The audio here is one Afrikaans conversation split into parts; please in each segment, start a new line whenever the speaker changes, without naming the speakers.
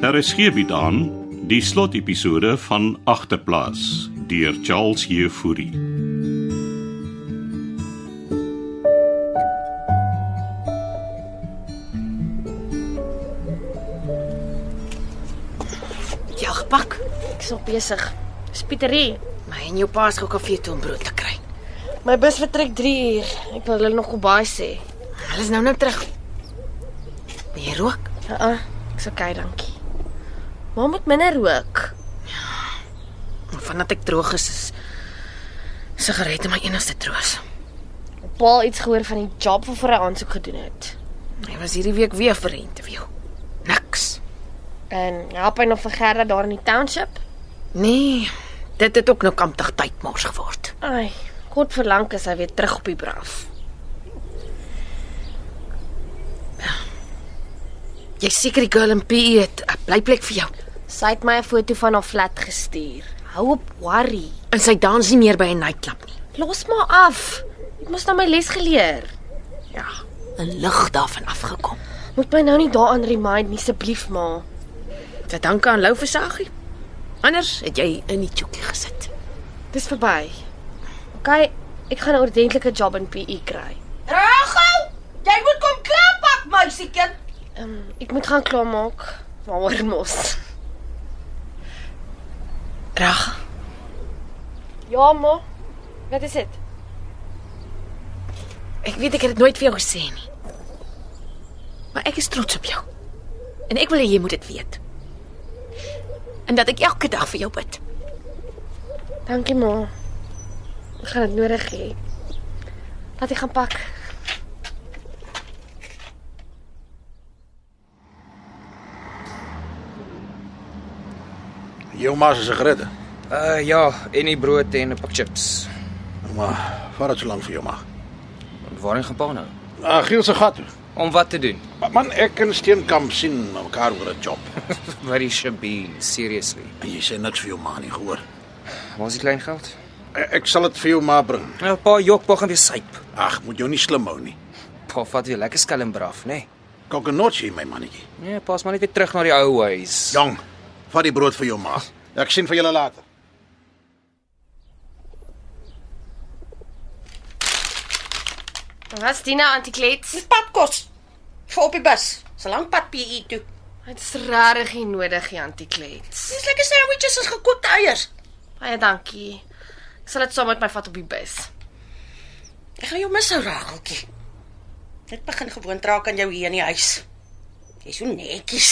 Daar is gebied aan die slotepisode van Agterplaas deur Charles Jefouri.
Jagpak.
Ek's op besig. Spieterie.
My en jou pa se koffie toe om brood te kry.
My bus vertrek 3 uur. Ek wil hulle nog goeie sê.
Hulle is nou nou terug. Wil Jy rook.
Uh, uh ek's okay, dankie. Maar moet minder rook.
En Vandat ek droog is, is sigarette my enigste troos.
Paul iets gehoor van die job wat vir 'n aansoek gedoen het.
Hy was hierdie week weer vir 'n interview. Niks.
En help hy nog vir Gerda daar in die township?
Nee, dit het ook nou kamptig tydmors geword.
Ai, kort verlang is hy weer terug op die braaf.
Jy seker die girl in PE het 'n blyplek vir jou.
Sy het my 'n foto van haar flat gestuur. Hou op worry.
En sy dans nie meer by 'n nightclub nie.
Los maar af. Ek moes nou my les geleer.
Ja, 'n lig daarvan afgekom.
Moet my nou nie daaraan remind nie asseblief ma.
Te danke aan Lou Versaggie. Anders het jy in die chokkie gesit.
Dis verby. OK, ek gaan 'n ordentlike job in PE kry.
Rachel, jy moet kom klaarpak, meisiekind.
Ehm um, ek moet gaan klaarmaak. Waaroor mos?
Rag.
Ja ma. Wat is dit?
Ek weet ek het dit nooit vir jou gesê nie. Maar ek is trots op jou. En ek wil hê jy moet dit weet. En dat ek elke dag vir jou bid.
Dankie ma. Ek gaan dit nodig hê. Laat ek gaan pak.
Jou ma se sigarette.
Uh ja, en die brood en 'n pak chips.
Maar vat dit so lank vir jou ma.
Waarheen gaan pa nou?
Ah, Giel se gat.
Om wat te doen?
Maar Man, ek en Steenkamp sien mekaar oor 'n job.
Wat die shabeen, seriously.
En jy sê niks vir jou ma nie, gehoor?
Waar's die klein geld?
E- Ek sal dit vir jou ma bring.
Nou pa jok, pa gaan weer suip.
Ag, moet jou nie slim hou nie.
Pa vat weer lekker skelm braaf, nê? Nee?
Kokkenotjie, my mannetjie.
nee, pa's maar net weer terug na die ou huis.
Jong, vat die brood vir jou ma. Ek sien vir julle later.
Wat is dit nou antiklets?
Dis padkos. Vir op die bus. So lank pad PE toe.
Dit is regtig nie nodig die antiklets.
Dis lekker sandwiches en gekookte eiers.
Baie dankie. Ek sal dit saam met my vat op die bus.
Ek gaan jou mis, ou Racheltjie. Dit begin gewoond raak aan jou hier in die huis. Jy's so netjies.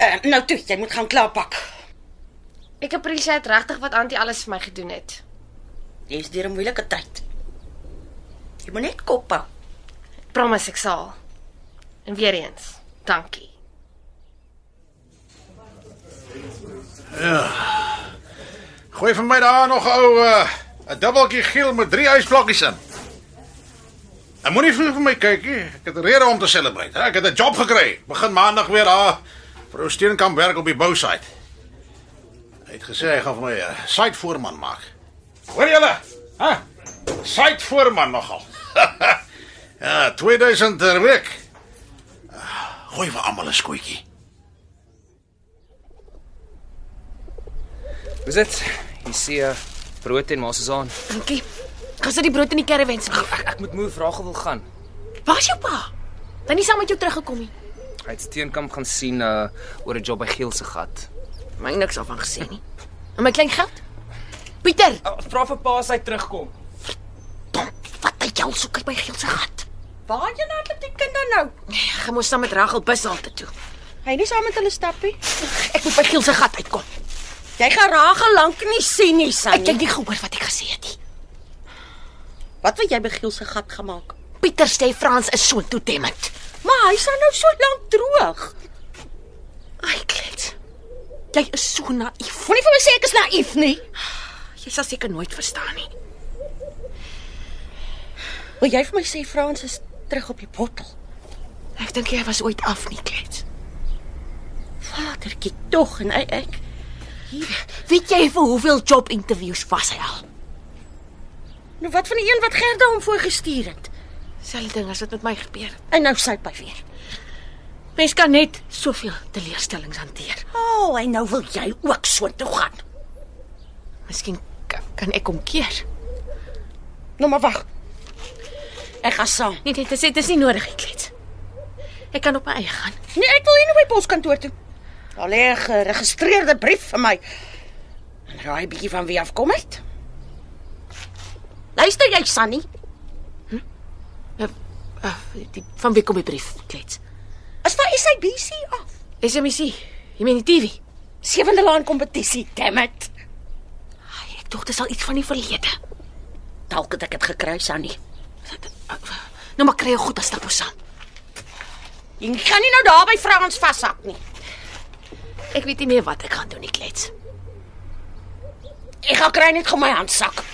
Uh, nou toe, jy moet gaan klaarpak.
Ek appreciate regtig wat Antie alles vir my gedoen het.
Jy's deur 'n moeilike tyd. Jy moet net kop hou.
Ek promise ek sal. En weer eens, dankie.
Gooi vir my daar nog 'n ou uh, 'n dubbeltjie giel met 3 ysblokkies in. En moenie vir vir my kyk nie. Ek het 'n rede om te celebrate. hè. Ek het 'n job gekry. Begin maandag weer daar. Vrou Steenkamp werk op die bousite. Hy het gesê hy gaan vir my 'n uh, site voorman maak. Hoor julle? Hæ? Site voorman nogal. ja, 2000 per week. Ah, Gooi vir almal 'n skootjie.
Dis dit. Jy sien uh, brood en mos is aan.
Dankie. Gaan sit die brood in die karavaan
Ah,
asseblief.
Ek moet moe vrae wil gaan.
Waar's jou pa? Dan nie saam met jou teruggekom nie.
Hy het Steenkamp gaan sien uh oor 'n job by Gielse gat.
My niks af van gesê nie. En my klein geld? Pieter,
Uh, vra vir pa as hy terugkom.
dom, wat het jy al soek by Giel se gat?
Waarheen hardloop die kind dan nou?
Gaan mos saam met Ragel bus al te toe.
Hy nie saam met hulle stappie.
Ek moet by Giel se gat uitkom.
Jy gaan Rachel lank nie sien nie, sy.
Ek het nie gehoor wat ek gesê het nie.
Wat wil jy by Giel se gat gemaak?
Pieter sê Frans is so toetemmend.
Maar hy staan nou so lank droog.
Ai, klets. Jy is so naïef.
Moenie vir my sê ek is naïef nie.
Jy sal seker nooit verstaan nie.
Wil jy vir my sê Frans is terug op die bottel?
Ek dink jy was ooit af nie, klets.
Vadertjie tog en ek, ek
Weet jy vir hoeveel job interviews was hy al?
nou wat van die een wat Gerda hom voorgestuur het?
Selfde ding as wat met my gebeur het.
En nou syp hy weer.
Mens kan net soveel teleurstellings hanteer.
O, oh, en nou wil jy ook so toe gaan.
Miskien k- kan ek hom keer.
Nou maar wag. Ek gaan saam.
Nee, dit is dit is nie nodig, ek klets. Ek kan op my eie gaan.
Nee, ek wil hier na my poskantoor toe. Daar lê 'n geregistreerde brief vir my. En raai bietjie van wie afkom dit? Luister jy, Sunny?
Uh, uh, die, van wie kom die brief, klets?
Is van SABC af.
SMC. Jy meen die TV.
Sewende laan kompetisie, damn it.
Ai, ek dink dit is al iets van die verlede.
Dalk het ek dit gekry, Sunny.
Nou maar kry jy goed as stap ons aan.
Jy kan nie nou daar by Frans vashak nie.
Ek weet nie meer wat ek gaan doen nie, klets.
Ek gaan kry net gou my handsak.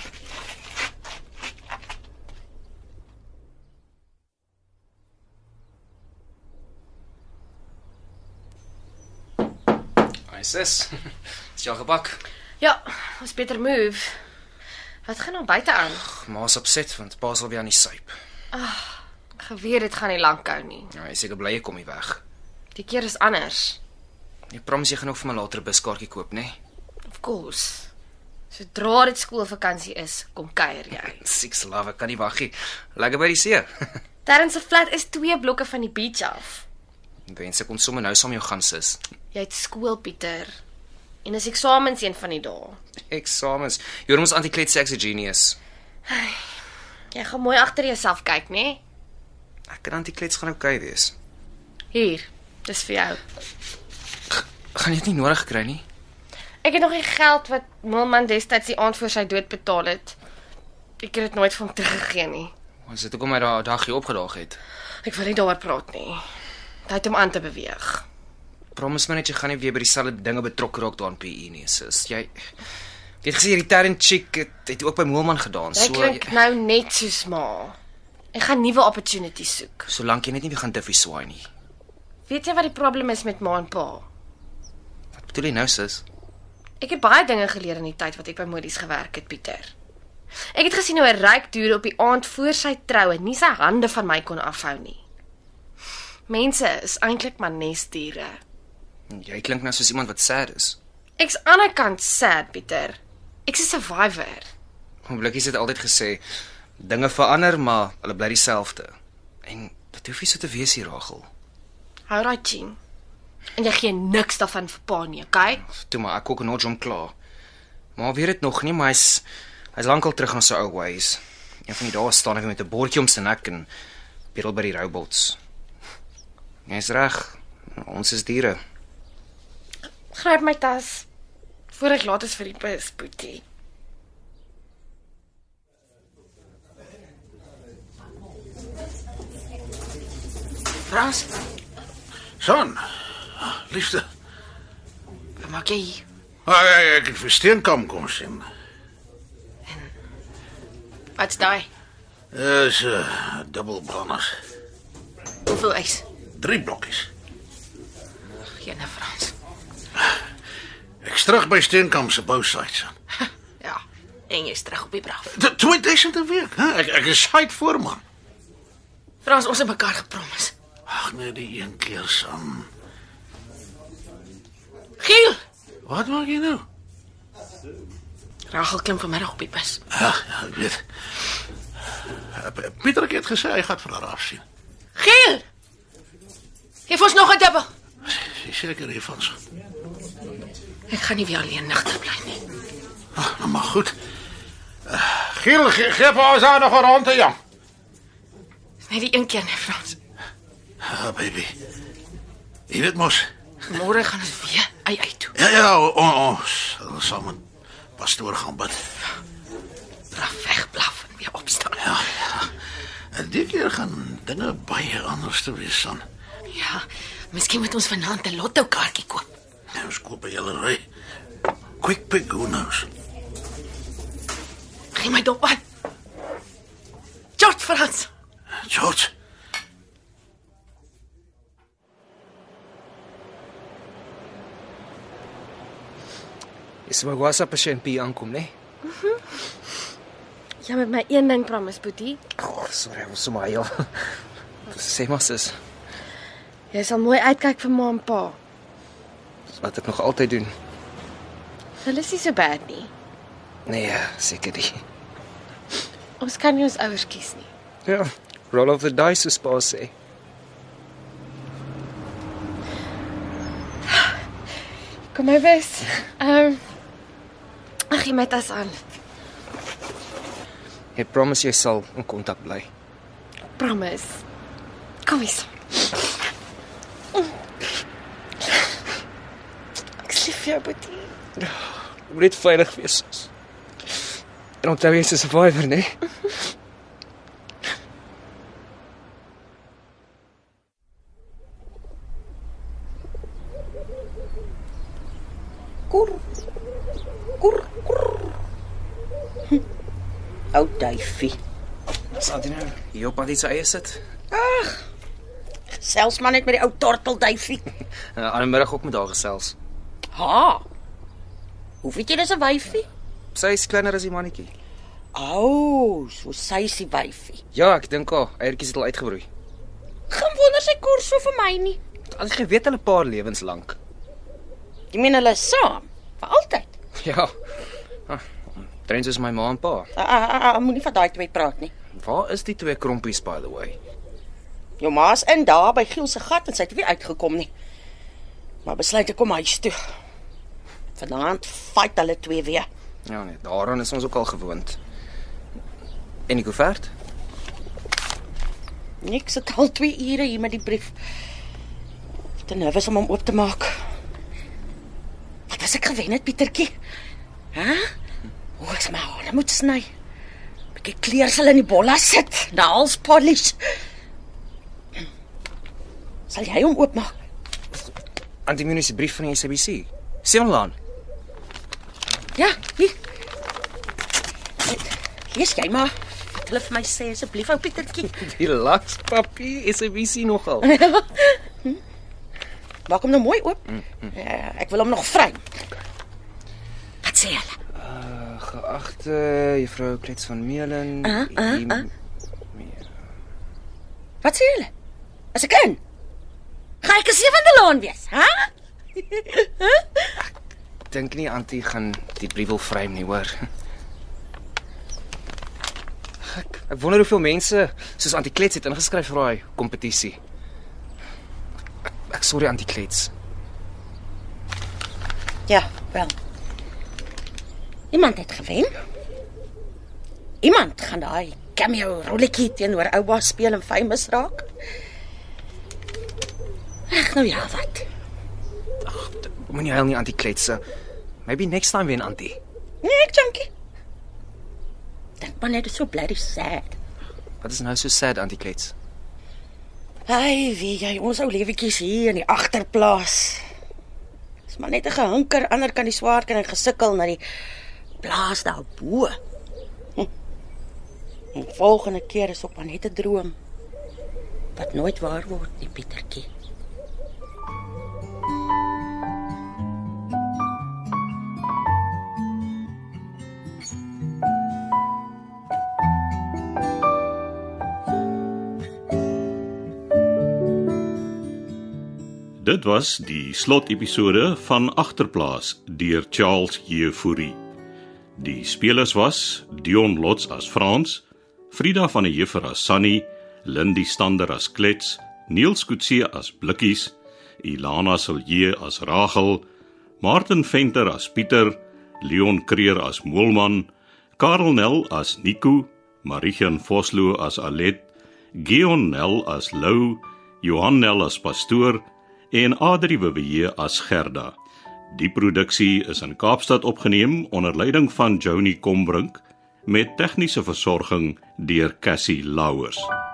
Ai sis. Is jy al gebak?
Ja, ons beter move. Wat gaan nou buite aan?
Ag, Ma's opset want pa sal weer aan die suip.
Geweet dit gaan nie lank hou nie.
Ja, hy is seker bly jy kom hier weg.
Die keer is anders.
Jy proms jy gaan nog vir my later 'n buskaartjie koop, né? Nee?
Of course. Sodra dit skoolvakansie is, kom kuier jy.
Six love, ek kan nie wag nie. Lekker by die see.
Terrence se flat is 2 blokke van die beach af.
Wens ek kon sommer nou saam jou gaan sis.
Jy het skool, Pieter. En is eksamens een van die dae.
Eksamens. Jy hoor ons antiklet sê ek's 'n genius.
Jy gaan mooi agter jouself kyk, né?
Ek kan antiklets gaan oukei okay wees.
Hier, dis vir jou.
Gaan jy dit nie nodig kry nie?
Ek het nog nie geld wat Milman destyds die aand voor sy dood betaal het. Ek het dit nooit van hom teruggegee nie.
Ons het hoekom hy daai dagie opgedaag het.
Ek wil nie daaroor praat nie. Hy het hom aan te beweeg.
Promise my net jy gaan nie weer by dieselfde dinge betrokke raak daar in PE nie, sis. Jy Jy het gesê hierdie Tarrant chick het, het ook by Moelman gedaan,
Hy
so ja.
klink nou net soos ma. Ek gaan nuwe opportunities soek.
solank jy net nie weer gaan duffie swaai nie.
Weet jy wat die probleem is met ma en pa?
Wat bedoel jy nou, sis?
Ek het baie dinge geleer in die tyd wat ek by Modies gewerk het, Pieter. Ek het gesien hoe 'n ryk dude op die aand voor sy troue nie sy hande van my kon afhou nie. Mense is eintlik maar nesdiere.
Jy klink nou soos iemand wat sad is.
Ek's aan die ander kant sad, Pieter. Ek's 'n survivor.
Hom blikkies het altyd gesê dinge verander, maar hulle bly dieselfde. En dit hoef nie so te wees hier, Ragel.
Hou daai ching. En jy gee niks daarvan vir pa nie, okay?
Toe maar ek kook nog hom klaar. Maar weet dit nog nie, maar hy's hy's lankal terug aan sy ou ways. Een van die dae staan hy weer met 'n bordjie om sy nek en bedel by die robots. Jy's reg. Ons is diere.
Gryp my tas voor ek laat is vir die bus, Boetie.
Frans,
Son. Liefde.
wat maak jy hier?
Ah, ja, ja, ek het vir Steenkamp kom sien.
Wat's daai?
Dis 'n uh, dubbelbranders.
Hoeveel ys?
Drie blokkies.
Gene nou, Frans.
Ek's terug by Steenkamp se bousite son.
Ja. En jy's terug op die braaf.
Dit 2000 'n week, hè? Ek ek is site voorman.
Frans, ons het mekaar gepromis.
Ag nee, die een keer son.
Giel,
Wat maak jy nou?
Rachel klim vanmiddag op die bus.
Ag, ja, ek weet. Eh, Pieter het gesê hy gaan vir haar afsien.
Giel! Geef ons nog 'n dubbel.
Sy is seker hiervan son.
Ek gaan nie weer alleen nigter bly nie.
Ag, nou maar goed. Uh, Giel, ge gee vir ons aan nog 'n ronde, jong.
Dis net die een keer, nee, Frans.
Ah, baby. Jy weet mos.
Môre gaan ons weer ei uit toe.
Ja, ja, o- o- ons oh, saam met pastoor gaan bid.
Blaf weg, blaf en weer opstaan.
Ja, ja. En dit keer gaan dinge baie anders te wees son.
Ja. Miskien moet ons vanaand 'n lotto kaartjie koop.
Nou skoop by julle ry. Quick pick who knows.
Gee my dop aan. George Frans.
George.
Dis maar what's up as jy in P aankom, né? Nee?
Jy moet my een ding promise, Boetie.
Oh, sorry, ons sommer heel. Sê maar sis.
Jy sal mooi uitkyk vir ma en pa.
Dis wat ek nog altyd doen.
Hulle is nie so bad nie.
Nee, seker nie.
Ons kan nie ons ouers kies nie.
Ja, roll of the dice soos pa sê.
Kom my wys. Ehm um, Ag, jy my tas aan.
Jy promise jy sal in kontak bly.
Promise. Kom eens. Ek is lief vir jou, Boetie.
Jy moet net veilig wees. sis. En onthou jy's 'n survivor, né?
Koer. Koer, koer. Hm. Ou duifie.
Sal dit nou hier op aan die eie sit?
Selfs maar net met die ou tortelduifie.
'n uh, Ander middag ook met haar gesels.
Ha. Hoe weet jy dis 'n wyfie?
Sy is kleiner as die mannetjie.
Ou, oh, so sy is die wyfie.
Ja, ek dink al, eiertjies het al uitgebroei.
Geen wonder sy koer so vir my nie.
Al jy weet hulle paar lewens lank.
Jy meen hulle is saam vir altyd.
Ja. Ah, Trends is my ma en pa.
Ah, ah, ah, ah, Moenie van daai twee praat nie.
Waar is die twee krompies by the way?
Jou ma's in daar by Giel se gat en sy het weer uitgekom nie. Maar besluit ek kom huis toe. Vanaand fight hulle twee weer.
Ja nee, daaraan is ons ook al gewoond. En die koevert?
Ek sit al 2 ure hier met die brief. Ek is Te nervus om hom oop te maak. Wat was ek gewen het, Pietertjie? Hæ? Hoe is my hare moet sny? Bietjie kleur sal in die bolla sit, na als polish. Sal jy hom oopmaak?
Antimunies se brief van die SABC. Seonlaan.
Ja, hier. Lees jy maar. Wat Hulle vir my sê asseblief ou Pietertjie,
Relax papie, SABC nogal.
maak hom nou mooi oop. Ja, ek wil hom nog vry. Wat sê hulle?
Geagte juffrou Klets van Meulen,
Ah, ah,
u-
ah. Wat sê hulle? As ek in. Gaan ek 'n sewende laan wees, hè?
dink nie Antie gaan die brief wil frame nie, hoor. Ek, ek wonder hoeveel mense soos Antie Klets het ingeskryf vir daai kompetisie. Ek, ek sorry Antie Klets.
Ja, wel. Iemand het gewen. Iemand gaan daai cameo rolletjie teenoor Ouba speel en famous raak. Ag nou ja, wat?
Moenie huil nie Antie Klets. Maybe next time wen Antie.
Nee, ek junkie. Dink maar net dis so bloody sad.
Wat is nou so sad Antie Klets?
Ai, wie jy, ons ou lewetjies hier in die agterplaas. Dis maar net 'n gehinker, ander kan die swaard kan en gesukkel na die plaas daarbo. Hm. En volgende keer is ook maar net 'n droom wat nooit waar word nie, Pietertjie.
Dit was die slotepisode van Agterplaas deur Charles Jefouri. Die spelers was Dion Lots as Frans, Frida van der Heever as Sunny, Lindie Stander as Klets, Niels Kutse as Blikkies, Ilana Silje as Rachel, Martin Venter as Pieter, Leon Creer as Moelman, Karel Nel as Nico, Marigian Vosloo as Alet, Gion Nel as Lou, Johan Nel as pastoor en Adri Bewe as Gerda. Die produksie is in Kaapstad opgeneem onder leiding van Joni Combrink met tegniese versorging deur Cassie Louwers.